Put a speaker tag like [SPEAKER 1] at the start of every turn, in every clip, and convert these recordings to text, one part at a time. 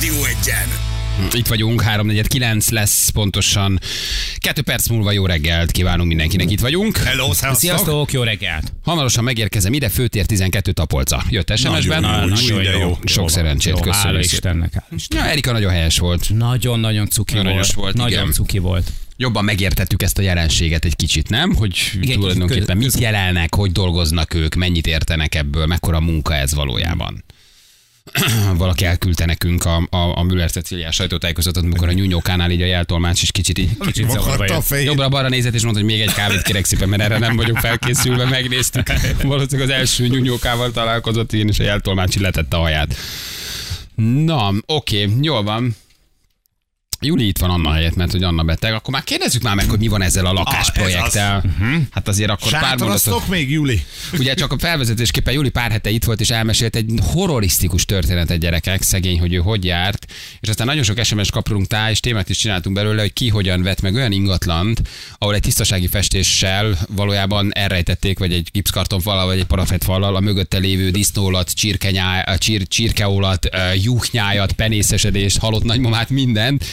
[SPEAKER 1] legyen.
[SPEAKER 2] Itt vagyunk, 3.49 lesz pontosan. Kettő perc múlva jó reggelt kívánunk mindenkinek, itt vagyunk.
[SPEAKER 1] Hello, szevasztok!
[SPEAKER 3] Sziasztok, jó reggelt!
[SPEAKER 2] Hamarosan megérkezem ide, Főtér 12 Tapolca. Jött SMS-ben?
[SPEAKER 1] Nagyon jó,
[SPEAKER 2] Nagyon
[SPEAKER 1] de jó.
[SPEAKER 2] Sok
[SPEAKER 3] van.
[SPEAKER 2] szerencsét,
[SPEAKER 3] Jó, Hála
[SPEAKER 2] köszönjük szépen.
[SPEAKER 3] Istennek. hála Istennek.
[SPEAKER 2] Ja, Erika nagyon helyes volt.
[SPEAKER 3] Nagyon-nagyon cuki
[SPEAKER 2] Nagyon
[SPEAKER 3] volt.
[SPEAKER 2] volt,
[SPEAKER 3] Nagyon
[SPEAKER 2] igen.
[SPEAKER 3] cuki volt.
[SPEAKER 2] Jobban megértettük ezt a jelenséget egy kicsit, nem? Hogy
[SPEAKER 3] kicsit
[SPEAKER 2] tulajdonképpen
[SPEAKER 3] köz-
[SPEAKER 2] mit jelennek, hogy dolgoznak ők, mennyit értenek ebből, mekkora munka ez valójában. Valaki elküldte nekünk a, a, a Müller Ceciliás sajtótájékozatot, amikor a nyúnyókánál így a jeltolmács is kicsit így
[SPEAKER 3] Kicsit zavarba
[SPEAKER 1] Vakarta a
[SPEAKER 3] jött.
[SPEAKER 1] fejét.
[SPEAKER 2] Jobbra balra nézett, és mondta, hogy még egy kávét kérek szépen, mert erre nem vagyok felkészülve, megnéztük. Valószínűleg az első nyúnyókával találkozott, én és a jeltolmácsi letette a haját. Na, oké, jól van. Júli itt van Anna helyett, mert hogy Anna beteg. Akkor már kérdezzük már meg, hogy mi van ezzel a lakásprojekttel. Hát azért akkor pár mondatot...
[SPEAKER 1] Sátorasztok még, Juli?
[SPEAKER 2] Ugye csak a felvezetésképpen Júli pár hete itt volt, és elmesélt egy horrorisztikus történetet gyerekek, szegény, hogy ő hogy járt, és aztán nagyon sok SMS kapulunk tá, és témát is csináltunk belőle, hogy ki hogyan vett meg olyan ingatlant, ahol egy tisztasági festéssel valójában elrejtették, vagy egy gipszkarton falal, vagy egy parafett falal a mögötte lévő disznólat, csirkenyá, csir, csirkeolat, ö, juhnyájat, penészesedést, halott nagymamát, mindent.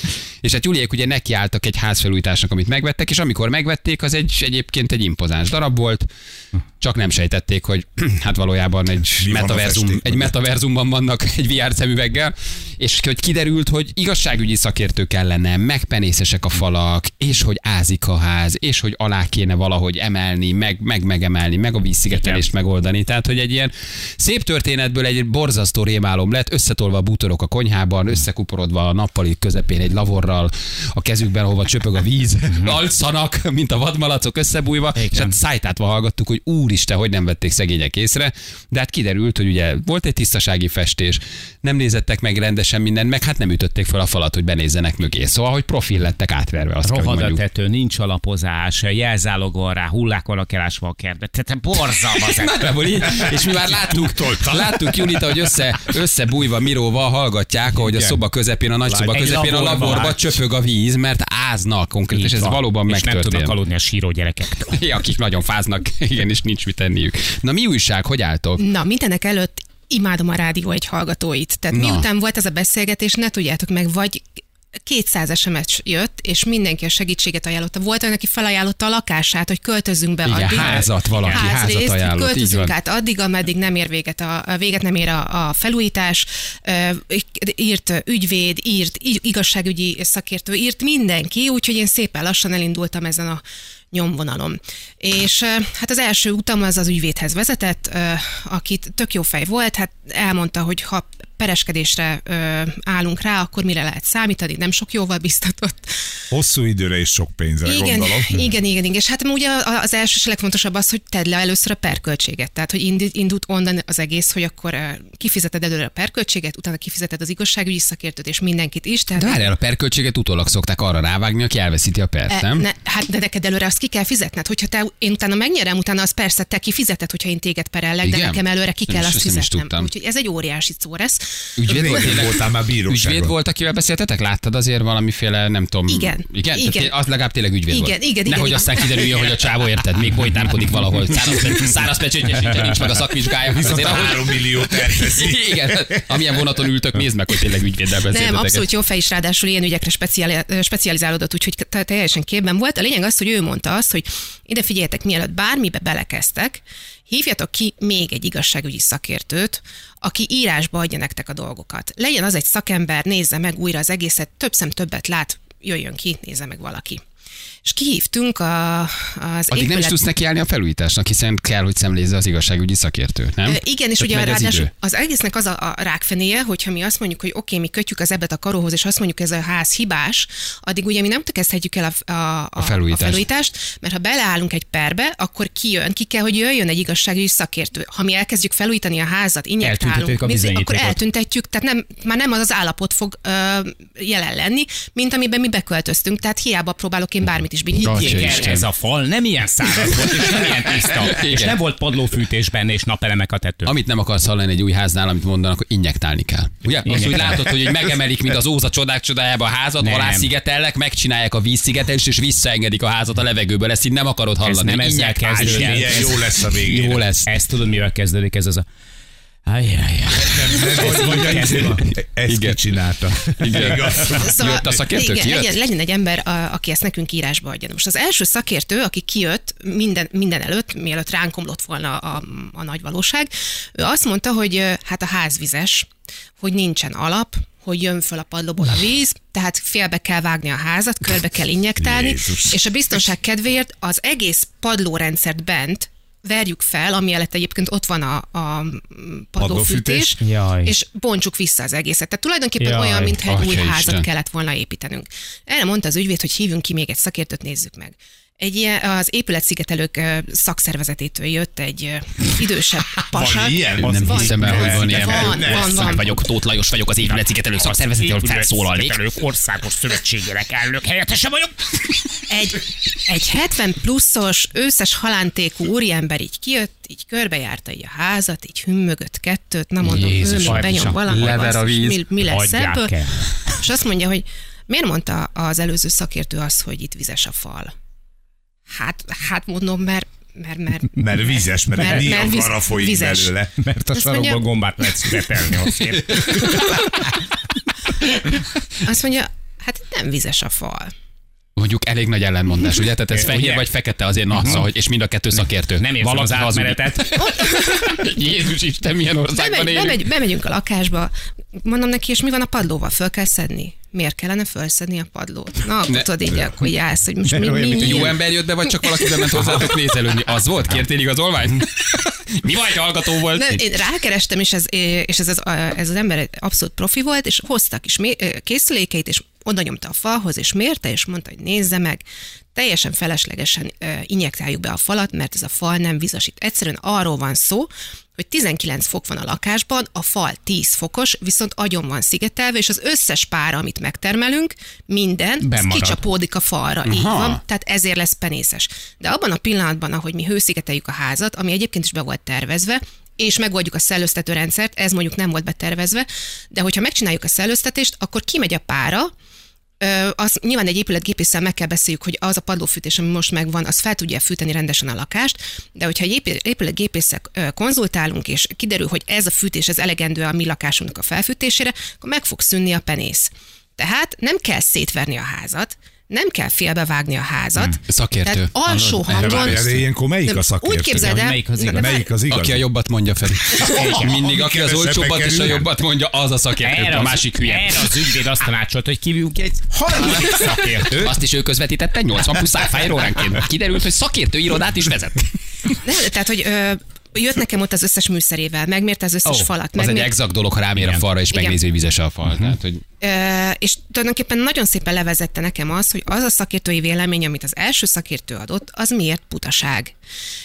[SPEAKER 2] És hát Juliék ugye nekiálltak egy házfelújításnak, amit megvettek, és amikor megvették, az egy egyébként egy impozáns darab volt, csak nem sejtették, hogy hát valójában egy,
[SPEAKER 1] Mi van a
[SPEAKER 2] metaverzum,
[SPEAKER 1] festék
[SPEAKER 2] egy metaverzumban vannak egy VR szemüveggel, és hogy kiderült, hogy igazságügyi szakértők ellene, megpenészesek a falak, és hogy ázik a ház, és hogy alá kéne valahogy emelni, meg, meg megemelni, meg a vízszigetelést megoldani. Tehát, hogy egy ilyen szép történetből egy borzasztó rémálom lett, összetolva a bútorok a konyhában, összekuporodva a nappali közepén egy lavorral, a kezükben, hova csöpög a víz, alszanak, mint a vadmalacok összebújva, Igen. és hát szájtátva hallgattuk, hogy úristen, hogy nem vették szegények észre, de hát kiderült, hogy ugye volt egy tisztasági festés, nem nézettek meg rendesen mindent, meg hát nem ütötték fel a falat, hogy benézzenek mögé. Szóval, hogy profil lettek átverve, azt kell, hogy
[SPEAKER 3] Rohad a
[SPEAKER 2] mondjuk.
[SPEAKER 3] tető, nincs alapozás, jelzálog van rá, hullák vannak elásva a kertbe. Tehát te borzalmas. ez.
[SPEAKER 2] Nagyjából így, és mi már láttuk, láttuk Julita, hogy össze, összebújva Miróval hallgatják, ahogy a
[SPEAKER 3] Igen.
[SPEAKER 2] szoba közepén, a nagy szoba
[SPEAKER 3] Egy
[SPEAKER 2] közepén a
[SPEAKER 3] laborba
[SPEAKER 2] laborba
[SPEAKER 3] látsz.
[SPEAKER 2] csöpög a víz, mert áznak konkrétan,
[SPEAKER 3] Így
[SPEAKER 2] és ez
[SPEAKER 3] van.
[SPEAKER 2] valóban
[SPEAKER 3] És nem tudnak
[SPEAKER 2] megtörtént.
[SPEAKER 3] aludni a síró gyerekektől.
[SPEAKER 2] Ja, akik nagyon fáznak, igen, és nincs mit tenniük. Na mi újság, hogy álltok?
[SPEAKER 4] Na, mindenek előtt imádom a rádió egy hallgatóit. Tehát
[SPEAKER 2] Na.
[SPEAKER 4] Na. miután volt ez a beszélgetés, ne tudjátok meg, vagy 200 SMS jött, és mindenki a segítséget ajánlotta. Volt olyan, aki felajánlotta a lakását, hogy költözünk be
[SPEAKER 2] Igen,
[SPEAKER 4] addig.
[SPEAKER 2] házat valaki,
[SPEAKER 4] Házrészt,
[SPEAKER 2] házat ajánlott, így
[SPEAKER 4] Költözünk
[SPEAKER 2] van.
[SPEAKER 4] át hát addig, ameddig nem ér véget a, a véget nem ér a, a felújítás. Ö, Írt ügyvéd, írt i- igazságügyi szakértő, írt mindenki, úgyhogy én szépen lassan elindultam ezen a nyomvonalom. És ö, hát az első utam az az ügyvédhez vezetett, ö, akit tök jó fej volt, hát elmondta, hogy ha pereskedésre ö, állunk rá, akkor mire lehet számítani, nem sok jóval biztatott.
[SPEAKER 1] Hosszú időre és sok pénzre,
[SPEAKER 4] Igen,
[SPEAKER 1] gondolom.
[SPEAKER 4] igen, igen, igen. És hát ugye a- az első és legfontosabb az, hogy tedd le először a perköltséget. Tehát, hogy indi- indult onnan az egész, hogy akkor eh, kifizeted előre a perköltséget, utána kifizeted az igazságügyi szakértőt és mindenkit is. Tehát
[SPEAKER 2] De várjál, a perköltséget utólag szokták arra rávágni, aki elveszíti a pert,
[SPEAKER 4] E,
[SPEAKER 2] nem?
[SPEAKER 4] Ne, hát de neked előre azt ki kell fizetned, hogyha te, én utána megnyerem, utána az persze te kifizeted, hogyha én téged perellek,
[SPEAKER 2] Igen?
[SPEAKER 4] de nekem előre ki
[SPEAKER 2] Nem
[SPEAKER 4] kell
[SPEAKER 2] is- ezt
[SPEAKER 4] azt
[SPEAKER 2] nem is
[SPEAKER 4] fizetnem.
[SPEAKER 2] tudtam.
[SPEAKER 4] Úgyhogy ez egy óriási szóresz.
[SPEAKER 2] Ügyvéd volt,
[SPEAKER 1] Régen
[SPEAKER 2] tényleg?
[SPEAKER 1] voltál már bíróságon.
[SPEAKER 2] Ügyvéd volt, akivel beszéltetek? Láttad azért valamiféle, nem tudom.
[SPEAKER 4] Igen.
[SPEAKER 2] Igen?
[SPEAKER 4] Igen.
[SPEAKER 2] Tehát Az legalább tényleg ügyvéd
[SPEAKER 4] Igen,
[SPEAKER 2] volt.
[SPEAKER 4] igen, igen,
[SPEAKER 2] Nehogy
[SPEAKER 4] igen.
[SPEAKER 2] aztán kiderüljön, hogy a csávó érted, még bolytánkodik valahol. Száraz, száraz pecsétje sincs, nincs meg a szakvizsgája. Azért, ahogy,
[SPEAKER 1] 3 millió tervezi.
[SPEAKER 2] igen, amilyen vonaton ültök, nézd meg, hogy tényleg ügyvéddel
[SPEAKER 4] Nem,
[SPEAKER 2] beszéltetek.
[SPEAKER 4] abszolút jó fej is, ráadásul ilyen ügyekre speciali, ö, specializálódott, úgyhogy te- teljesen képben volt. A lényeg az, hogy ő mondta azt, hogy ide figyeljetek, mielőtt bármibe belekezdtek, hívjatok ki még egy igazságügyi szakértőt, aki írásba adja nektek a dolgokat. Legyen az egy szakember, nézze meg újra az egészet, több szem többet lát, jöjjön ki, nézze meg valaki. És kihívtunk a, az
[SPEAKER 2] Addig nem is
[SPEAKER 4] épület-
[SPEAKER 2] tudsz nekiállni a felújításnak, hiszen kell, hogy szemlézze az igazságügyi szakértő, nem?
[SPEAKER 4] Ö, Igen, és
[SPEAKER 2] Tehát
[SPEAKER 4] ugye
[SPEAKER 2] megy az
[SPEAKER 4] ráadásul
[SPEAKER 2] idő.
[SPEAKER 4] az egésznek az a, a rákfenéje, hogyha mi azt mondjuk, hogy oké, mi kötjük az ebet a karóhoz, és azt mondjuk, ez a ház hibás, addig ugye mi nem kezdhetjük el a, a, a,
[SPEAKER 2] felújítást.
[SPEAKER 4] a felújítást, mert ha beleállunk egy perbe, akkor kijön, ki kell, hogy jöjjön egy igazságügyi szakértő. Ha mi elkezdjük felújítani a házat, injektálunk,
[SPEAKER 3] Eltüntetjük a
[SPEAKER 4] mézi- akkor
[SPEAKER 3] bizonyítékot.
[SPEAKER 4] eltüntetjük, tehát nem, már nem az az állapot fog ö, jelen lenni, mint amiben mi beköltöztünk, tehát hiába próbálok én bármit is
[SPEAKER 2] Atya
[SPEAKER 3] Higgyék
[SPEAKER 4] binyítani.
[SPEAKER 3] el,
[SPEAKER 2] Isten.
[SPEAKER 3] ez a fal nem ilyen száraz volt, és nem ilyen tiszta.
[SPEAKER 2] Igen.
[SPEAKER 3] És nem volt padlófűtés benne, és napelemek a tetőn.
[SPEAKER 2] Amit nem akarsz hallani egy új háznál, amit mondanak, hogy injektálni kell. Ugye? Azt úgy
[SPEAKER 3] Injektálni.
[SPEAKER 2] látod, hogy így megemelik, mint az Óza csodák csodájába a házat,
[SPEAKER 3] Nem.
[SPEAKER 2] alászigetellek, megcsinálják a vízszigetelést, és visszaengedik a házat a levegőből. Ezt így nem akarod hallani.
[SPEAKER 3] nem ezzel
[SPEAKER 2] Injektálni
[SPEAKER 3] kezdődik.
[SPEAKER 2] kell.
[SPEAKER 1] Milyen jó lesz a végén.
[SPEAKER 2] Jó lesz.
[SPEAKER 3] Ezt tudod, mivel kezdődik ez az a Ajjajjaj.
[SPEAKER 1] Vagy, vagy ezt, ezt
[SPEAKER 2] Igen.
[SPEAKER 1] kicsinálta.
[SPEAKER 2] Igen.
[SPEAKER 4] Szóval,
[SPEAKER 2] Jött a szakértő,
[SPEAKER 4] igen,
[SPEAKER 2] kijött?
[SPEAKER 4] legyen, legyen egy ember, a, aki ezt nekünk írásba adja. Na Most az első szakértő, aki kijött minden, minden előtt, mielőtt ránk omlott volna a, a nagy valóság, ő azt mondta, hogy ö, hát a házvizes, hogy nincsen alap, hogy jön föl a padlóból a víz, tehát félbe kell vágni a házat, körbe kell injektálni,
[SPEAKER 1] Jézus.
[SPEAKER 4] és a biztonság kedvéért az egész padlórendszert bent verjük fel, ami előtt egyébként ott van a, a padlófűtés,
[SPEAKER 3] Jaj.
[SPEAKER 4] és bontsuk vissza az egészet. Tehát tulajdonképpen
[SPEAKER 3] Jaj,
[SPEAKER 4] olyan, mintha egy új
[SPEAKER 2] atyaisten.
[SPEAKER 4] házat kellett volna építenünk. Erre mondta az ügyvéd, hogy hívjunk ki még egy szakértőt, nézzük meg. Egy ilyen, az épületszigetelők ö, szakszervezetétől jött egy ö, idősebb pasa.
[SPEAKER 1] Van ilyen?
[SPEAKER 4] Az
[SPEAKER 2] Nem
[SPEAKER 4] van.
[SPEAKER 2] hiszem el, hogy van ilyen.
[SPEAKER 4] Van, van,
[SPEAKER 2] Szent
[SPEAKER 4] van.
[SPEAKER 2] vagyok, Tóth Lajos vagyok, az épületszigetelő szakszervezetől felszólalnék.
[SPEAKER 3] Épületszigetelők Országos Szövetségének elnök helyettese vagyok.
[SPEAKER 4] Egy, egy 70 pluszos, őszes halántékú úriember így kijött, így körbejárta így a házat, így hümmögött kettőt, na mondom,
[SPEAKER 2] Jézus,
[SPEAKER 4] Jézus, ő még
[SPEAKER 2] Jézusom,
[SPEAKER 4] benyom valahol,
[SPEAKER 2] lever a
[SPEAKER 4] basszus,
[SPEAKER 2] víz,
[SPEAKER 4] mi, mi lesz
[SPEAKER 3] hagyják
[SPEAKER 4] ebből.
[SPEAKER 3] el.
[SPEAKER 4] És azt mondja, hogy miért mondta az előző szakértő azt, hogy itt vizes a fal? Hát, hát mondom, mert, mert, mert,
[SPEAKER 1] Mert vizes, mert,
[SPEAKER 4] Mert-
[SPEAKER 1] mert,
[SPEAKER 4] mert víz-
[SPEAKER 1] Niagara folyik
[SPEAKER 4] vizes.
[SPEAKER 1] belőle.
[SPEAKER 3] Mert a
[SPEAKER 4] Azt sarokba mondja-
[SPEAKER 3] gombát lehet születelni azért.
[SPEAKER 4] azt mondja, hát itt nem vizes a fal.
[SPEAKER 2] Mondjuk elég nagy ellenmondás, ugye? Tehát ez
[SPEAKER 3] Ugye?
[SPEAKER 2] fehér vagy fekete azért, na, szóval, hogy- és mind a kettő szakértő.
[SPEAKER 3] Nem érzem
[SPEAKER 2] Valaki
[SPEAKER 3] az
[SPEAKER 2] hazudik.
[SPEAKER 3] átmenetet.
[SPEAKER 2] Jézus Isten, milyen országban
[SPEAKER 4] Bemegy,
[SPEAKER 2] élünk.
[SPEAKER 4] bemegy, bemegyünk a lakásba, mondom neki, és mi van a padlóval? Föl kell szedni? Miért kellene fölszedni a padlót? Na,
[SPEAKER 2] Ne-
[SPEAKER 4] tudod így, akkor így állsz, hogy most mi, mi,
[SPEAKER 1] olyan, mint
[SPEAKER 4] mi,
[SPEAKER 1] egy
[SPEAKER 2] Jó ember jött be, vagy csak valaki bement hozzátok nézelődni? Az volt? Kértél igazolványt? Mi vagy, hallgató volt?
[SPEAKER 4] Nem, én rákerestem, és, ez, és ez, az, ez az ember abszolút profi volt, és hoztak is mé- készülékeit, és oda nyomta a falhoz, és mérte, és mondta, hogy nézze meg, teljesen feleslegesen ö, injektáljuk be a falat, mert ez a fal nem vizasít. Egyszerűen arról van szó, hogy 19 fok van a lakásban, a fal 10 fokos, viszont agyon van szigetelve, és az összes pára, amit megtermelünk, minden, az
[SPEAKER 3] Bemarad.
[SPEAKER 4] kicsapódik a falra. Aha. Így van, tehát ezért lesz penészes. De abban a pillanatban, ahogy mi hőszigeteljük a házat, ami egyébként is be volt tervezve, és megoldjuk a szellőztető rendszert, ez mondjuk nem volt betervezve, de hogyha megcsináljuk a szellőztetést, akkor kimegy a pára, Ö, az nyilván egy épületgépésszel meg kell beszéljük, hogy az a padlófűtés, ami most megvan, az fel tudja fűteni rendesen a lakást, de hogyha egy épü- épületgépésszel ö, konzultálunk, és kiderül, hogy ez a fűtés, ez elegendő a mi lakásunknak a felfűtésére, akkor meg fog szűnni a penész. Tehát nem kell szétverni a házat, nem kell félbevágni a házat.
[SPEAKER 1] Mm.
[SPEAKER 2] szakértő.
[SPEAKER 4] Tehát alsó
[SPEAKER 2] Hallod? Erre
[SPEAKER 4] hangon...
[SPEAKER 1] De várjál, de ilyenkor melyik
[SPEAKER 4] Nem,
[SPEAKER 1] a szakértő?
[SPEAKER 4] Úgy képzeld el...
[SPEAKER 3] Melyik az
[SPEAKER 4] Na, de
[SPEAKER 3] igaz?
[SPEAKER 4] várj-
[SPEAKER 1] Melyik az igaz?
[SPEAKER 2] Aki a jobbat mondja, Feri. Mindig, aki az
[SPEAKER 1] kevesebbe
[SPEAKER 2] olcsóbbat és a
[SPEAKER 1] kerül.
[SPEAKER 2] jobbat mondja, az a szakértő,
[SPEAKER 3] Erre
[SPEAKER 2] a
[SPEAKER 3] az-
[SPEAKER 2] másik hülye.
[SPEAKER 3] Erre az ügyvéd azt tanácsolt, hogy kívjuk egy harmadik szakértőt.
[SPEAKER 2] Azt is ő közvetítette 80 plusz áfájról óránként. Kiderült, hogy szakértő irodát is vezet.
[SPEAKER 4] Nem, tehát, hogy ö, jött nekem ott az összes műszerével, megmérte az összes falat,
[SPEAKER 2] az egy
[SPEAKER 4] megmérte
[SPEAKER 2] exakt dolog, ha rámér a falra, és
[SPEAKER 4] Igen.
[SPEAKER 2] megnézi, hogy vizes a fal. Tehát, hogy
[SPEAKER 4] Ö, és tulajdonképpen nagyon szépen levezette nekem az, hogy az a szakértői vélemény, amit az első szakértő adott, az miért butaság.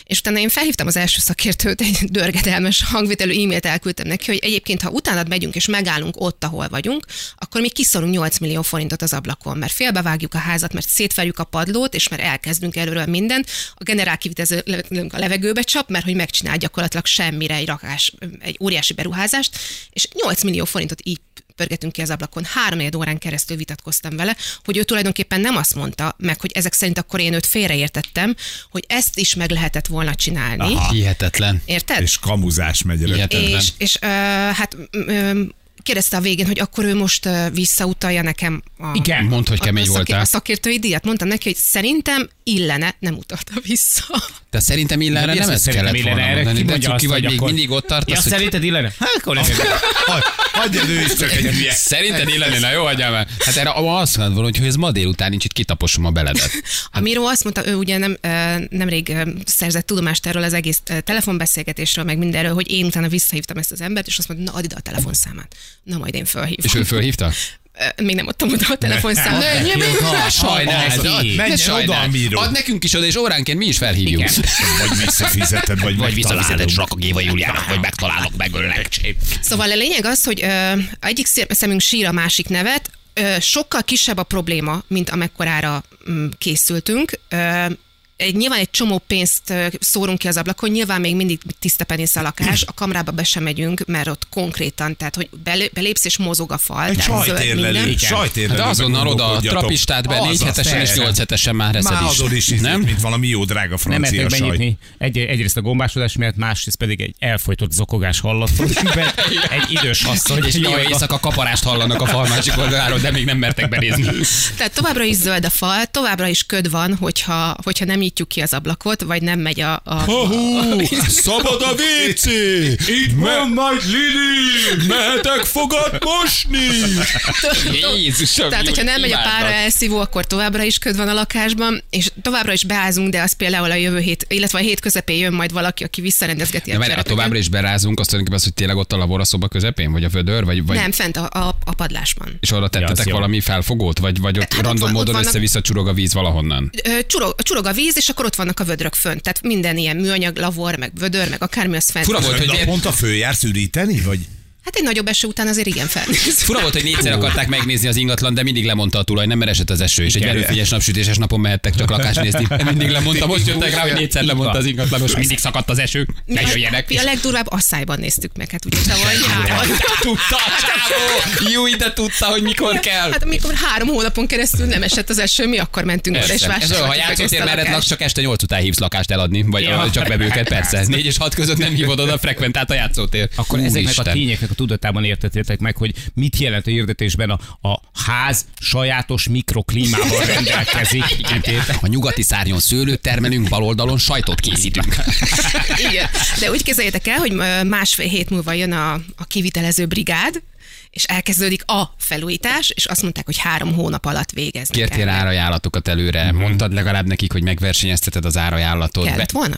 [SPEAKER 4] És utána én felhívtam az első szakértőt, egy dörgedelmes hangvitelű e-mailt elküldtem neki, hogy egyébként, ha utána megyünk és megállunk ott, ahol vagyunk, akkor mi kiszorunk 8 millió forintot az ablakon, mert félbevágjuk a házat, mert szétverjük a padlót, és mert elkezdünk előről mindent. A generál kivitelünk a levegőbe csap, mert hogy megcsinál gyakorlatilag semmire egy rakás, egy óriási beruházást, és 8 millió forintot így pörgetünk ki az ablakon. Három órán keresztül vitatkoztam vele, hogy ő tulajdonképpen nem azt mondta, meg hogy ezek szerint akkor én őt félreértettem, hogy ezt is meg lehetett volna csinálni. Aha.
[SPEAKER 2] hihetetlen.
[SPEAKER 4] Érted?
[SPEAKER 1] És kamuzás megy el.
[SPEAKER 2] Ilyet- Rendben.
[SPEAKER 4] És, és ö, hát m- ö, kérdezte a végén, hogy akkor ő most ö, visszautalja nekem a,
[SPEAKER 2] Igen. Mondd, hogy
[SPEAKER 4] a,
[SPEAKER 2] kemény
[SPEAKER 4] a, szaké-
[SPEAKER 2] voltál.
[SPEAKER 4] a szakértői díjat. Mondtam neki, hogy szerintem illene, nem utalta vissza.
[SPEAKER 2] De szerintem
[SPEAKER 3] De
[SPEAKER 2] illenre
[SPEAKER 3] mi
[SPEAKER 2] nem
[SPEAKER 3] az,
[SPEAKER 2] ezt
[SPEAKER 3] hogy
[SPEAKER 2] kellett
[SPEAKER 3] szerintem
[SPEAKER 2] volna
[SPEAKER 3] Illenre?
[SPEAKER 2] mondani.
[SPEAKER 3] Ki
[SPEAKER 2] De
[SPEAKER 3] mondja
[SPEAKER 2] cuki
[SPEAKER 3] azt,
[SPEAKER 2] vagy,
[SPEAKER 3] hogy
[SPEAKER 2] még
[SPEAKER 3] akkor-
[SPEAKER 2] mindig ott
[SPEAKER 3] Ja,
[SPEAKER 2] tartasz, hogy
[SPEAKER 3] szerinted illene? Hát akkor nem
[SPEAKER 1] Hagyja ő is csak egy hülye.
[SPEAKER 2] Szerinted illene, na jó, hagyjál már. Hát erre azt mondod volna, hogy ez ma délután nincs itt kitaposom a beledet.
[SPEAKER 4] A Miró azt mondta, ő ugye nem, ö, nemrég ö, szerzett tudomást erről az egész ö, telefonbeszélgetésről, meg mindenről, hogy én utána visszahívtam ezt az embert, és azt mondta, na add ide a telefonszámát. Na majd én fölhívom.
[SPEAKER 2] És ő fölhívta?
[SPEAKER 4] Ö, Még nem adtam oda a telefonszámot.
[SPEAKER 2] Ne, ne,
[SPEAKER 4] hát,
[SPEAKER 2] ne, ne sajnáld,
[SPEAKER 3] az
[SPEAKER 2] ne,
[SPEAKER 3] így.
[SPEAKER 2] ne
[SPEAKER 1] Menjen oda,
[SPEAKER 2] sajnáld.
[SPEAKER 1] Miro.
[SPEAKER 2] Ad nekünk is oda, és óránként mi is felhívjuk. Hát
[SPEAKER 1] Vagy visszafizeted, vagy, megtalálod.
[SPEAKER 2] Vagy visszafizeted Rakagéva Júliának, vagy megtalálok, megöllek.
[SPEAKER 4] Szóval a lényeg az, hogy ö, egyik szé- szemünk sír a másik nevet, ö, sokkal kisebb a probléma, mint amekkorára mm, készültünk. Ö, egy, nyilván egy csomó pénzt ö, szórunk ki az ablakon, nyilván még mindig tiszta penész a lakás, a kamrába be sem megyünk, mert ott konkrétan, tehát hogy belé- belépsz és mozog a fal.
[SPEAKER 1] Egy
[SPEAKER 4] tehát zöld Szóval minden.
[SPEAKER 1] sajtérlelő.
[SPEAKER 2] Hát
[SPEAKER 1] Sajtérlelő.
[SPEAKER 2] azonnal oda a trapistát be,
[SPEAKER 1] Azaz,
[SPEAKER 2] 4 hetesen és
[SPEAKER 1] persze.
[SPEAKER 2] 8 hetesen már eszed
[SPEAKER 1] Már
[SPEAKER 2] is.
[SPEAKER 1] azon is, nem?
[SPEAKER 2] nem?
[SPEAKER 1] mint valami jó drága
[SPEAKER 3] Nem
[SPEAKER 1] francia
[SPEAKER 3] mertek
[SPEAKER 1] sajt.
[SPEAKER 3] benyitni. Egy, egyrészt a gombásodás miatt, másrészt pedig egy elfolytott zokogás hallatszott. be. egy idős asszony.
[SPEAKER 2] és jó
[SPEAKER 3] nyolva.
[SPEAKER 2] éjszaka kaparást hallanak a fal másik oldaláról, de még nem mertek benézni.
[SPEAKER 4] Tehát továbbra is zöld a fal, továbbra is köd van, hogyha, hogyha nem nyitjuk ki az ablakot, vagy nem megy a... a,
[SPEAKER 1] Ahú, szabad a WC! Itt van nagy Lili! Mehetek fogad mosni!
[SPEAKER 2] Jézusom,
[SPEAKER 4] Tehát,
[SPEAKER 2] Júli,
[SPEAKER 4] hogyha nem megy a
[SPEAKER 2] imádlak.
[SPEAKER 4] pára elszívó, akkor továbbra is köd van a lakásban, és továbbra is beázunk, de az például a jövő hét, illetve a hét közepén jön majd valaki, aki visszarendezgeti
[SPEAKER 2] De várj,
[SPEAKER 4] a
[SPEAKER 2] ha
[SPEAKER 4] cserepeket.
[SPEAKER 2] továbbra is berázunk, azt tulajdonképpen az, hogy tényleg ott a laboraszoba közepén, vagy a vödör, vagy, vagy
[SPEAKER 4] Nem, fent a, a, a padlásban.
[SPEAKER 2] és oda
[SPEAKER 3] Ja,
[SPEAKER 2] tettetek
[SPEAKER 3] az jó.
[SPEAKER 2] valami felfogót, vagy, vagy ott
[SPEAKER 4] Hát ott
[SPEAKER 2] random
[SPEAKER 4] van- ott
[SPEAKER 2] módon
[SPEAKER 4] vannak-
[SPEAKER 2] össze-vissza csurog a víz valahonnan.
[SPEAKER 4] Ö, Csurog, csurog a víz, és akkor ott vannak a vödrök fönt. Tehát minden ilyen műanyag, lavor, meg vödör, meg akármi az fent.
[SPEAKER 2] Fura
[SPEAKER 4] van.
[SPEAKER 2] volt, hogy miért-
[SPEAKER 1] Naponta följársz üríteni, vagy?
[SPEAKER 4] Hát egy nagyobb eső után azért igen fent.
[SPEAKER 2] Fura volt, hogy négyszer akarták megnézni az ingatlan, de mindig lemondta a tulaj, nem mert esett az eső, és egy
[SPEAKER 3] Igen.
[SPEAKER 2] erőfényes napsütéses napon mehettek csak lakást nézni. Mindig lemondta, most jöttek rá, hogy négyszer lemondta az ingatlanos, mindig szakadt az eső, ne jöjjenek.
[SPEAKER 4] Mi a legdurvább asszályban néztük meg, hát ugye tavaly nyáron.
[SPEAKER 2] Tudta a csávó! Jó, de tudta, hogy mikor kell.
[SPEAKER 4] Hát amikor három hónapon keresztül nem esett az eső, mi akkor mentünk oda és
[SPEAKER 2] Persze. Ez olyan, ha
[SPEAKER 4] vásároltuk meg
[SPEAKER 2] játszótér
[SPEAKER 4] azt a
[SPEAKER 2] mellett laksz,
[SPEAKER 4] lakást.
[SPEAKER 2] csak este 8 után hívsz lakást eladni, vagy
[SPEAKER 3] Ja.
[SPEAKER 2] csak bevőket, persze. 4 és 6 között nem hívod oda, frekventált a játszótér.
[SPEAKER 3] Akkor ezeknek a
[SPEAKER 2] Úristen.
[SPEAKER 3] tényeknek a tudatában értetétek meg, hogy mit jelent a hirdetésben a, a ház sajátos mikroklímával rendelkezik.
[SPEAKER 2] A nyugati szárnyon szőlőt termelünk, bal oldalon sajtot készítünk.
[SPEAKER 4] Igen. De úgy kezeljétek el, hogy ö, másfél hét múlva jön a, a kivitelező brigád, és elkezdődik a felújítás, és azt mondták, hogy három hónap alatt végezni kell.
[SPEAKER 2] Kértél árajánlatokat előre, mondtad legalább nekik, hogy megversenyezteted az árajánlatot.
[SPEAKER 4] Kellett volna?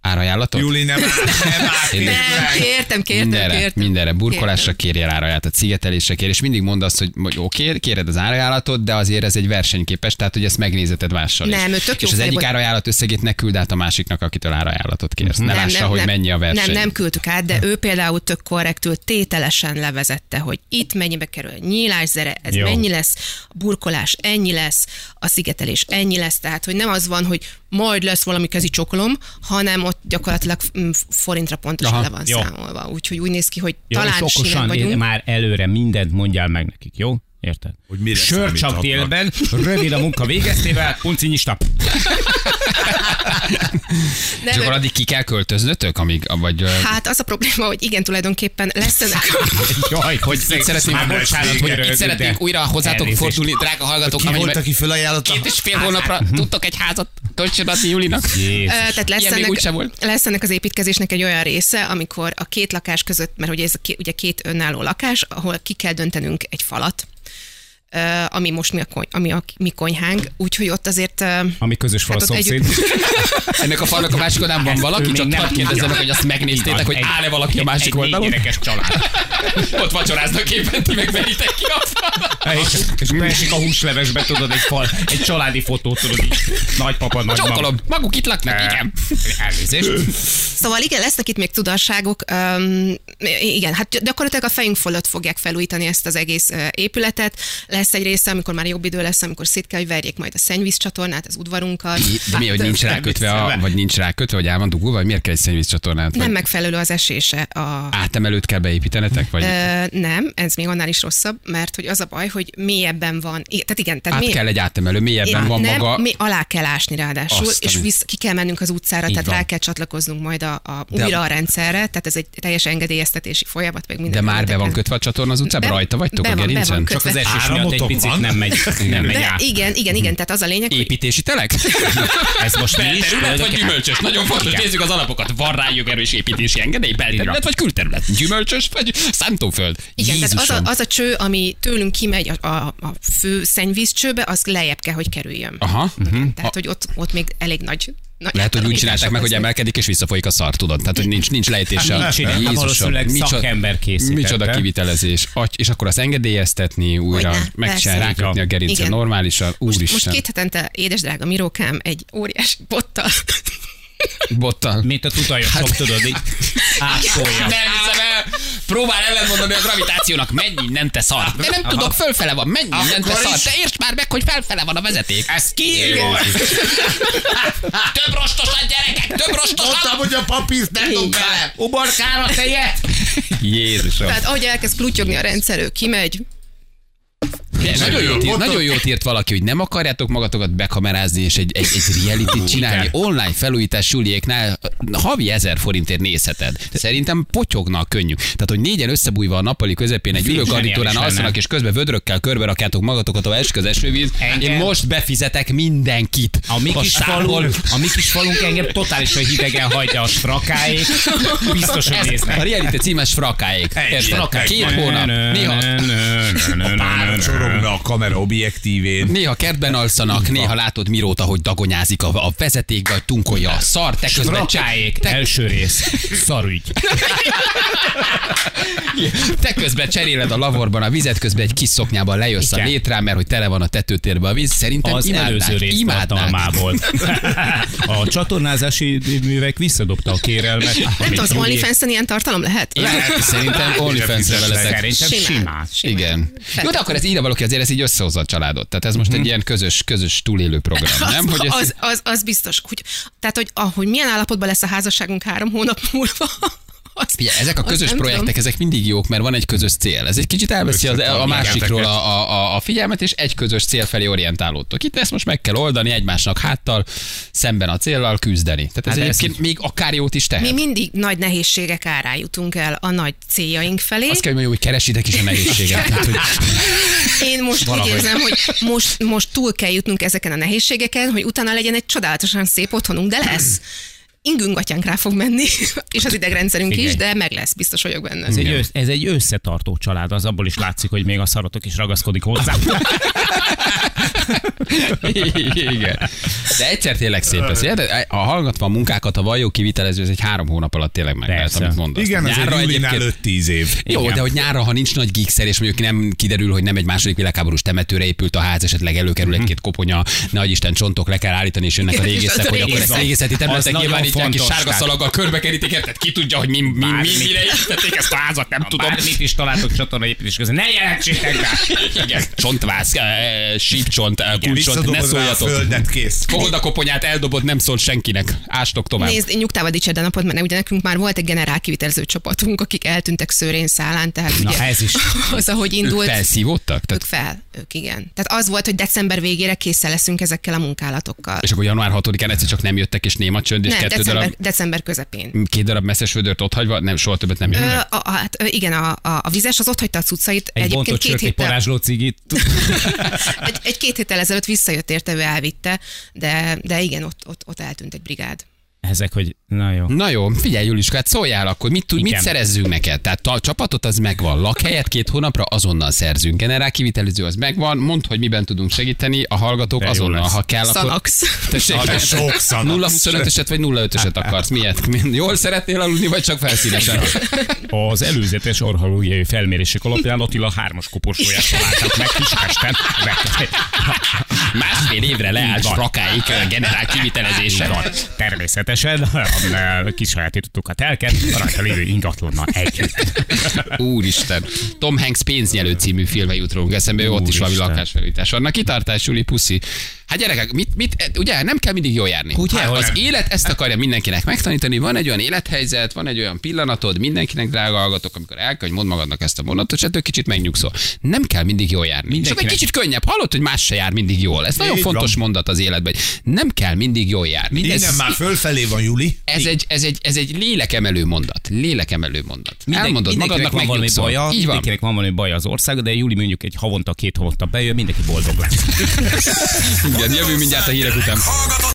[SPEAKER 2] Árajánlatot?
[SPEAKER 1] Júli nem áll, nem áll,
[SPEAKER 2] Én-
[SPEAKER 1] tényleg.
[SPEAKER 4] Nem, kértem, kértem,
[SPEAKER 2] mindenre,
[SPEAKER 4] kértem.
[SPEAKER 2] mindenre. Burkolásra kérje árajánlatot, szigetelésre kér, és mindig mondd azt, hogy, hogy oké, kéred az árajánlatot, de azért ez egy versenyképes, tehát hogy ezt megnézeted mással is.
[SPEAKER 4] Nem, ő tök jó
[SPEAKER 2] És az
[SPEAKER 4] fej
[SPEAKER 2] egyik
[SPEAKER 4] volt.
[SPEAKER 2] árajánlat összegét ne küld át a másiknak, akitől árajánlatot kérsz. Ne lássa, hogy mennyi a verseny.
[SPEAKER 4] Mhm. Nem, nem küldtük át, de ő például tök korrektül tételesen levezette, hogy itt mennyibe kerül a nyílászere, ez
[SPEAKER 3] Jó.
[SPEAKER 4] Jó. mennyi lesz, a burkolás ennyi lesz, a szigetelés ennyi lesz, tehát hogy nem az van, hogy majd lesz valami kezi csokolom, hanem ott gyakorlatilag mm, forintra pontosan
[SPEAKER 2] Aha,
[SPEAKER 4] le van
[SPEAKER 3] jó.
[SPEAKER 4] számolva. Úgyhogy úgy néz ki, hogy
[SPEAKER 3] Jó, és
[SPEAKER 4] talán sinem
[SPEAKER 3] okosan
[SPEAKER 4] vagyunk.
[SPEAKER 3] én már előre mindent mondjál meg nekik, jó? Érted?
[SPEAKER 1] Hogy mire
[SPEAKER 3] Sör csak
[SPEAKER 1] számíthatnak.
[SPEAKER 3] délben, rövid a munka végeztével, punci nyista.
[SPEAKER 4] Nem,
[SPEAKER 2] És akkor addig ki kell költöznötök, amíg, vagy... ö,
[SPEAKER 4] Hát az a probléma, hogy igen, tulajdonképpen lesz ennek.
[SPEAKER 3] Jaj, hogy
[SPEAKER 2] Itt szeretném,
[SPEAKER 3] már bocsánat, hogy
[SPEAKER 2] itt
[SPEAKER 3] röhögök, de
[SPEAKER 2] szeretnénk újra hozzátok
[SPEAKER 3] elnézést.
[SPEAKER 2] fordulni, drága hallgatók,
[SPEAKER 1] Ki volt,
[SPEAKER 2] amennyiben
[SPEAKER 1] aki fölajánlotta?
[SPEAKER 2] két és fél hónapra
[SPEAKER 3] Mhm.
[SPEAKER 2] tudtok egy házat kölcsönadni Julinak.
[SPEAKER 4] Ö,
[SPEAKER 3] Jézus.
[SPEAKER 4] Tehát lesz
[SPEAKER 2] Ilyen még úgysem
[SPEAKER 4] ennek,
[SPEAKER 2] volt.
[SPEAKER 4] lesz ennek az építkezésnek egy olyan része, amikor a két lakás között, mert ugye ez a két, ugye két önálló lakás, ahol ki kell döntenünk egy falat, ö, ami most mi a, kony, ami a mi konyhánk, úgyhogy ott azért... ö,
[SPEAKER 3] Ami közös fal
[SPEAKER 4] Hát
[SPEAKER 3] a
[SPEAKER 4] ott
[SPEAKER 3] szomszéd.
[SPEAKER 2] Ennek a falnak a másik oldalán van
[SPEAKER 3] Ezt ő
[SPEAKER 2] valaki,
[SPEAKER 3] még
[SPEAKER 2] csak
[SPEAKER 3] nem
[SPEAKER 2] hadd
[SPEAKER 3] tudja.
[SPEAKER 2] kérdezzem, meg, hogy azt megnéztétek, hogy
[SPEAKER 3] Egy-
[SPEAKER 2] áll-e valaki a másik
[SPEAKER 3] egy
[SPEAKER 2] oldalon.
[SPEAKER 3] Egy család.
[SPEAKER 2] Ott vacsoráznak éppen, ti meg veritek ki a falat.
[SPEAKER 3] És, és beesik a húslevesbe, tudod, egy fal, egy családi fotót, tudod, így nagypapa, nagymama.
[SPEAKER 2] Csókolom, maguk itt laknak, igen.
[SPEAKER 3] Elnézést.
[SPEAKER 4] Szóval igen, lesznek itt még tudasságok. Um, igen, hát gyakorlatilag a fejünk fölött fogják felújítani ezt az egész ö, épületet. Lesz egy része, amikor már jobb idő lesz, amikor szét kell, hogy verjék majd a szennyvízcsatornát, az udvarunkat.
[SPEAKER 2] De mi, hogy nincs rákötve, a, vagy nincs rákötve, vagy el van dugulva, vagy miért kell egy szennyvízcsatornát?
[SPEAKER 4] Nem
[SPEAKER 2] Vagy
[SPEAKER 4] megfelelő az esése a,
[SPEAKER 2] átemelőt kell beépítenetek, vagy
[SPEAKER 4] Ö, nem, ez még annál is rosszabb, mert hogy az a baj, hogy mélyebben van. I- Tehát igen, tehát
[SPEAKER 2] át
[SPEAKER 4] mély-
[SPEAKER 2] kell egy átemelő, mélyebben van
[SPEAKER 4] nem,
[SPEAKER 2] maga.
[SPEAKER 4] mi alá kell ásni ráadásul,
[SPEAKER 2] Azt,
[SPEAKER 4] és
[SPEAKER 2] ami-
[SPEAKER 4] visz, ki kell mennünk az utcára,
[SPEAKER 2] Így
[SPEAKER 4] tehát
[SPEAKER 2] van.
[SPEAKER 4] rá kell csatlakoznunk majd a, a újra a rendszerre, tehát ez egy teljes engedélyeztetési folyamat, meg
[SPEAKER 2] De
[SPEAKER 4] minden.
[SPEAKER 2] már be van
[SPEAKER 4] rendelkezés.
[SPEAKER 2] kötve a csatorna az utcában?
[SPEAKER 4] Be-
[SPEAKER 2] Rajta vagytok
[SPEAKER 4] be
[SPEAKER 2] a
[SPEAKER 4] van- be van
[SPEAKER 2] gerincen?
[SPEAKER 4] kötve.
[SPEAKER 3] Csak az esés miatt egy
[SPEAKER 1] Áramotok
[SPEAKER 3] picit
[SPEAKER 1] van?
[SPEAKER 3] nem megy, nem megy
[SPEAKER 4] De
[SPEAKER 3] át.
[SPEAKER 4] igen, igen, igen, tehát az a lényeg, hogy
[SPEAKER 2] Építési telek?
[SPEAKER 3] Ez most mi is?
[SPEAKER 2] Belterület vagy gyümölcsös? Nagyon fontos,
[SPEAKER 3] Igen.
[SPEAKER 2] nézzük az alapokat. Van rá jövőerős építési engedély?
[SPEAKER 3] Így van.
[SPEAKER 2] Belterület vagy külterület? Gyümölcsös vagy szántóföld?
[SPEAKER 4] igen, tehát az
[SPEAKER 2] Jézusom.
[SPEAKER 4] a, az a cső, ami tőlünk kimegy a, a, a fő szennyvízcsőbe, az lejjebb kell, hogy kerüljön.
[SPEAKER 2] Aha.
[SPEAKER 4] Tehát, hogy ott, ott még elég nagy.
[SPEAKER 2] Ah,
[SPEAKER 4] nagy
[SPEAKER 2] Mhm. hm, Lehet, hogy úgy csinálták meg, hogy
[SPEAKER 4] lesznek.
[SPEAKER 2] emelkedik és visszafolyik a szar, tudod? Tehát, hogy nincs, nincs lejtéssel.
[SPEAKER 3] Hát nincs, igen. Valószínűleg szakember készítette.
[SPEAKER 2] Micsoda kivitelezés. Agy, és akkor azt engedélyeztetni újra,
[SPEAKER 4] Hogyne,
[SPEAKER 2] megcsinálni,
[SPEAKER 4] persze.
[SPEAKER 2] rákötni a gerincen
[SPEAKER 4] Igen.
[SPEAKER 2] normálisan.
[SPEAKER 4] Most, most
[SPEAKER 2] Úristen,
[SPEAKER 4] két hetente, édes drága Mirókám, egy óriási bottal.
[SPEAKER 2] bottal.
[SPEAKER 3] Hát- Mint a tutajosok, tudod, így ápolja.
[SPEAKER 2] Nem hiszem el! Próbál ellenmondani a gravitációnak, mennyi nem te szar. De nem tudok, fölfele van, mennyi nem te
[SPEAKER 3] Akkor
[SPEAKER 2] szar.
[SPEAKER 3] is.
[SPEAKER 2] De értsd már meg, hogy felfele van a vezeték.
[SPEAKER 3] Ez kiírja.
[SPEAKER 2] Több rostosan, gyerekek, több rostosan.
[SPEAKER 5] Mondtam, hogy a papírt nem dobd bele.
[SPEAKER 3] hát, Uborkára tejet. Jézusom.
[SPEAKER 4] Tehát ahogy elkezd plutyogni a rendszer, ő kimegy.
[SPEAKER 2] De nagyon, jót írt, nagyon jót írt valaki, hogy nem akarjátok magatokat bekamerázni és egy, egy, egy reality csinálni. Online felújítás Juliéknál havi ezer forintért nézheted. Szerintem potyognak könnyű. Tehát, hogy négyen összebújva a nappali közepén egy ülőgarnitúrán
[SPEAKER 3] zseniális
[SPEAKER 2] alszanak,
[SPEAKER 3] lenne.
[SPEAKER 2] és közben vödrökkel körbe rakjátok magatokat, a esik az esővíz.
[SPEAKER 3] Engem?
[SPEAKER 2] Én most befizetek mindenkit.
[SPEAKER 3] A mi, kis falunk, a mi kis falunk engem totálisan hidegen hagyja a strakáék. Biztos, hogy
[SPEAKER 2] Ez a
[SPEAKER 3] néznek.
[SPEAKER 2] reality címes frakáék. Érted? Két hónap. Néha
[SPEAKER 5] Pár csorogna a kamera objektívén.
[SPEAKER 2] Néha kertben alszanak, néha látod Mirót, ahogy dagonyázik a, a vezeték, vagy tunkolja a szar, te közben,
[SPEAKER 3] Strakáék, első rész. Szarügy.
[SPEAKER 2] te közben cseréled a lavorban a vizet, közben egy kis szoknyában lejössz a
[SPEAKER 3] Igen.
[SPEAKER 2] létrán, mert hogy tele van a tetőtérben a víz. Szerintem
[SPEAKER 3] Az
[SPEAKER 2] imádnák,
[SPEAKER 3] előző rész
[SPEAKER 2] imádnák.
[SPEAKER 3] tartalmából. A csatornázási művek visszadobta a kérelmet.
[SPEAKER 4] Nem tudom, az OnlyFans-en ilyen tartalom lehet?
[SPEAKER 2] Én szerintem OnlyFans-re veletek.
[SPEAKER 3] Szerintem
[SPEAKER 4] Simán.
[SPEAKER 3] simán.
[SPEAKER 2] Igen. Jó, de akkor ez írja valaki, azért ez így összehozza a családot. Tehát ez most
[SPEAKER 3] Mhm.
[SPEAKER 2] egy ilyen közös, közös túlélő program, nem? Hogy
[SPEAKER 4] az,
[SPEAKER 2] ez
[SPEAKER 4] az, az, az biztos. Hogy, tehát, hogy ahogy milyen állapotban lesz a házasságunk három hónap múlva, az,
[SPEAKER 2] Figyelj, ezek a
[SPEAKER 4] azt
[SPEAKER 2] közös
[SPEAKER 4] nem
[SPEAKER 2] projektek,
[SPEAKER 4] tudom.
[SPEAKER 2] ezek mindig jók, mert van egy közös cél. Ez egy kicsit elveszi az, a másikról a, a, a, a figyelmet, és egy közös cél felé orientálódtok. Itt ezt most meg kell oldani egymásnak háttal, szemben a céllal küzdeni. Tehát ez
[SPEAKER 3] Hát
[SPEAKER 2] hát
[SPEAKER 3] ez
[SPEAKER 2] egyébként
[SPEAKER 3] így-
[SPEAKER 2] még akár jót is
[SPEAKER 4] Mi
[SPEAKER 2] tehet.
[SPEAKER 4] mindig nagy nehézségek árán jutunk el a nagy céljaink felé.
[SPEAKER 2] Azt kell, hogy mondjuk, hogy keresitek is a nehézséget. Tehát, hogy
[SPEAKER 4] Én most
[SPEAKER 2] Valahogy.
[SPEAKER 4] úgy érzem, hogy most, most túl kell jutnunk ezeken a nehézségeken, hogy utána legyen egy csodálatosan szép otthonunk, de lesz. Ingünk atyánk rá fog menni, és az idegrendszerünk is, de meg lesz, biztos vagyok benne.
[SPEAKER 3] Ez egy, össz, ez egy összetartó család, az abból is látszik, hogy még a szarotok is ragaszkodik hozzá.
[SPEAKER 2] Igen. De egyszer tényleg szép lesz. ugye? De A hallgatva a munkákat, a vajó kivitelező, ez egy három hónap alatt tényleg meg lehet,
[SPEAKER 3] Persze.
[SPEAKER 2] amit mondasz.
[SPEAKER 5] Igen, az egy
[SPEAKER 2] Nyárra
[SPEAKER 5] Julinál
[SPEAKER 2] egyébként-
[SPEAKER 5] 5-10 év.
[SPEAKER 2] Jó,
[SPEAKER 3] Igen.
[SPEAKER 2] de hogy nyára, ha nincs nagy gigszer, és mondjuk nem kiderül, hogy nem egy második világháborús temetőre épült a ház, esetleg előkerül egy-két koponya, nagy Isten csontok le kell állítani, és jönnek a
[SPEAKER 4] Igen, és az
[SPEAKER 2] régészek, hogy akkor
[SPEAKER 4] régész.
[SPEAKER 2] ezt régészeti
[SPEAKER 3] Az
[SPEAKER 2] területek
[SPEAKER 3] nagyon
[SPEAKER 2] nyilván így kis
[SPEAKER 3] fontos,
[SPEAKER 2] sárga
[SPEAKER 3] tehát.
[SPEAKER 2] szalaggal körbekerítik, tehát ki tudja, hogy mi, mi, mi
[SPEAKER 3] Bármi.
[SPEAKER 2] mire építették ezt a házat, nem tudom.
[SPEAKER 3] Bármit is találtok csatornaépítés közben. Ne jelentsétek rá!
[SPEAKER 2] Igen, csontváz, eh, sípcsont, eh, kulcsont, ne
[SPEAKER 5] Visszadobod rá a
[SPEAKER 2] szóljatok.
[SPEAKER 5] földet, kész.
[SPEAKER 2] Fogod a koponyát, eldobod, nem szól senkinek. Ástok tovább.
[SPEAKER 4] Nézd, nyugtába dicsed a napot, mert ugye nekünk már volt egy generál kivitelező csapatunk, akik eltűntek szőrén szálán, tehát
[SPEAKER 3] Na,
[SPEAKER 4] ugye
[SPEAKER 3] ez is.
[SPEAKER 4] az, ahogy indult,
[SPEAKER 2] Ők felszívódtak? Tehát,
[SPEAKER 4] ők fel, ők igen. Tehát az volt, hogy december végére készen leszünk ezekkel a munkálatokkal.
[SPEAKER 2] és akkor január 6-án egyszer csak nem jöttek, és néma csönd, és
[SPEAKER 4] Nem,
[SPEAKER 2] kettő darab,
[SPEAKER 4] december, december közepén.
[SPEAKER 2] két darab messzes vödört ott hagyva, nem, soha többet nem
[SPEAKER 4] Ö,
[SPEAKER 2] jönnek.
[SPEAKER 4] a, a, hát, ö, igen, a, a, a vizes az ott hagyta a cuccait.
[SPEAKER 3] Egy
[SPEAKER 4] Egyébként
[SPEAKER 3] bontott
[SPEAKER 4] két
[SPEAKER 3] sört, egy
[SPEAKER 4] héttel,
[SPEAKER 3] parázsló cigit.
[SPEAKER 4] egy, egy két héttel ezelőtt visszajött érte, ő elvitte, de, de igen, ott, ott, ott eltűnt egy brigád.
[SPEAKER 3] Ezek, hogy na jó.
[SPEAKER 2] Na jó, figyelj Juliska, hát szóljál akkor, mit, tud, mit
[SPEAKER 3] Igen.
[SPEAKER 2] szerezzünk neked? Tehát a csapatot az megvan, lakhelyet két hónapra azonnal szerzünk, generál kivitelező az megvan, mondd, hogy miben tudunk segíteni, a hallgatók
[SPEAKER 3] De jó
[SPEAKER 2] azonnal,
[SPEAKER 3] lesz.
[SPEAKER 2] ha kell, akkor...
[SPEAKER 4] Szanax.
[SPEAKER 2] Tessék,
[SPEAKER 5] Az a sok szanax.
[SPEAKER 2] 0-25-öset vagy 0-5-öset akarsz? Miért? Mi- Jól szeretnél aludni, vagy csak felszínesen?
[SPEAKER 3] Az előzetes orhalógiai felmérések alapján Attila hármas koporsóját találtak meg Kispesten.
[SPEAKER 2] Másfél évre leállt
[SPEAKER 3] Így van.
[SPEAKER 2] rakáig a generál kivitelezése.
[SPEAKER 3] Van. Természetesen a kisajátítottuk a telket, a rajta lévő ingatlannal együtt.
[SPEAKER 2] Úristen. Tom Hanks pénznyelő című filme jut rólunk eszembe, ő ott is
[SPEAKER 3] Úristen.
[SPEAKER 2] valami lakásfelújítás. Annak kitartás, Juli, puszi. Hát gyerekek, mit, mit, ugye nem kell mindig jól járni.
[SPEAKER 3] Ugye,
[SPEAKER 2] hát,
[SPEAKER 3] hogy
[SPEAKER 2] az
[SPEAKER 3] nem.
[SPEAKER 2] élet ezt akarja mindenkinek megtanítani, van egy olyan élethelyzet, van egy olyan pillanatod, mindenkinek drága hallgatok, amikor el kell, hogy mondd magadnak ezt a mondatot, és ettől kicsit megnyugszol. Nem kell mindig jól járni. Mindenkinek. Csak
[SPEAKER 3] Mindenkinek.
[SPEAKER 2] egy kicsit könnyebb. Hallott, hogy más se jár mindig jól. Ez nagyon
[SPEAKER 5] Így
[SPEAKER 2] fontos
[SPEAKER 5] van.
[SPEAKER 2] mondat az életben. hogy Nem kell mindig jól járni.
[SPEAKER 5] Innen már fölfelé van, Juli.
[SPEAKER 2] Ez egy, ez, egy, ez egy lélekemelő mondat. Lélekemelő mondat. Minden, Elmondod
[SPEAKER 3] mindenkinek
[SPEAKER 2] magadnak,
[SPEAKER 3] van valami
[SPEAKER 2] megnyugszol.
[SPEAKER 3] baja,
[SPEAKER 2] Így van.
[SPEAKER 3] mindenkinek van valami baja az ország, de Júli mondjuk egy havonta, két havonta bejön, mindenki boldog lesz.
[SPEAKER 2] Igen, jövő mindjárt a hírek után.